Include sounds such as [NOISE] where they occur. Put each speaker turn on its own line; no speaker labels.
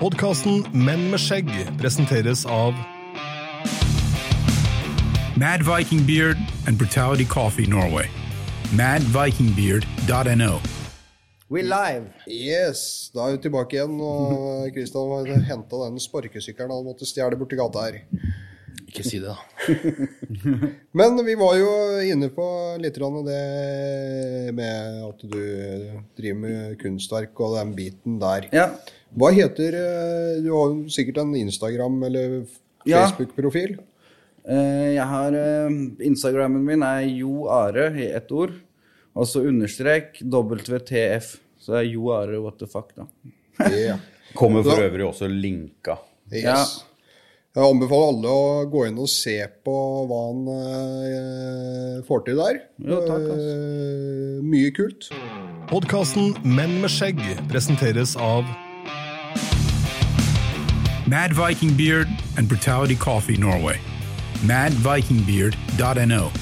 Podkasten Menn med skjegg presenteres av
Mad Viking Beard and Brutality Coffee Norway. MadVikingBeard.no.
We live!
Yes, da er vi tilbake igjen. Og Kristian har henta den sparkesykkelen han måtte stjele borti gata her.
Ikke si det, da.
[LAUGHS] Men vi var jo inne på litt grann det med at du driver med kunstverk og den biten der.
Ja.
Hva heter eh, Du har jo sikkert en Instagram- eller
Ja.
Facebook-profil?
Eh, Jeg har eh, Instagrammen min er Jo Are i ett ord. Og så understrek WTF. Så det er Jo Are what the fuck, da.
Ja.
Kommer for
Ja.
øvrig også linka.
Yes. Jeg anbefaler alle å gå inn og se på hva han eh, får til der.
Jo, takk, ass.
Eh, mye kult.
Podkasten Menn med skjegg presenteres av
Mad Viking Beard and Brutality Coffee Norway. MadVikingBeard.no.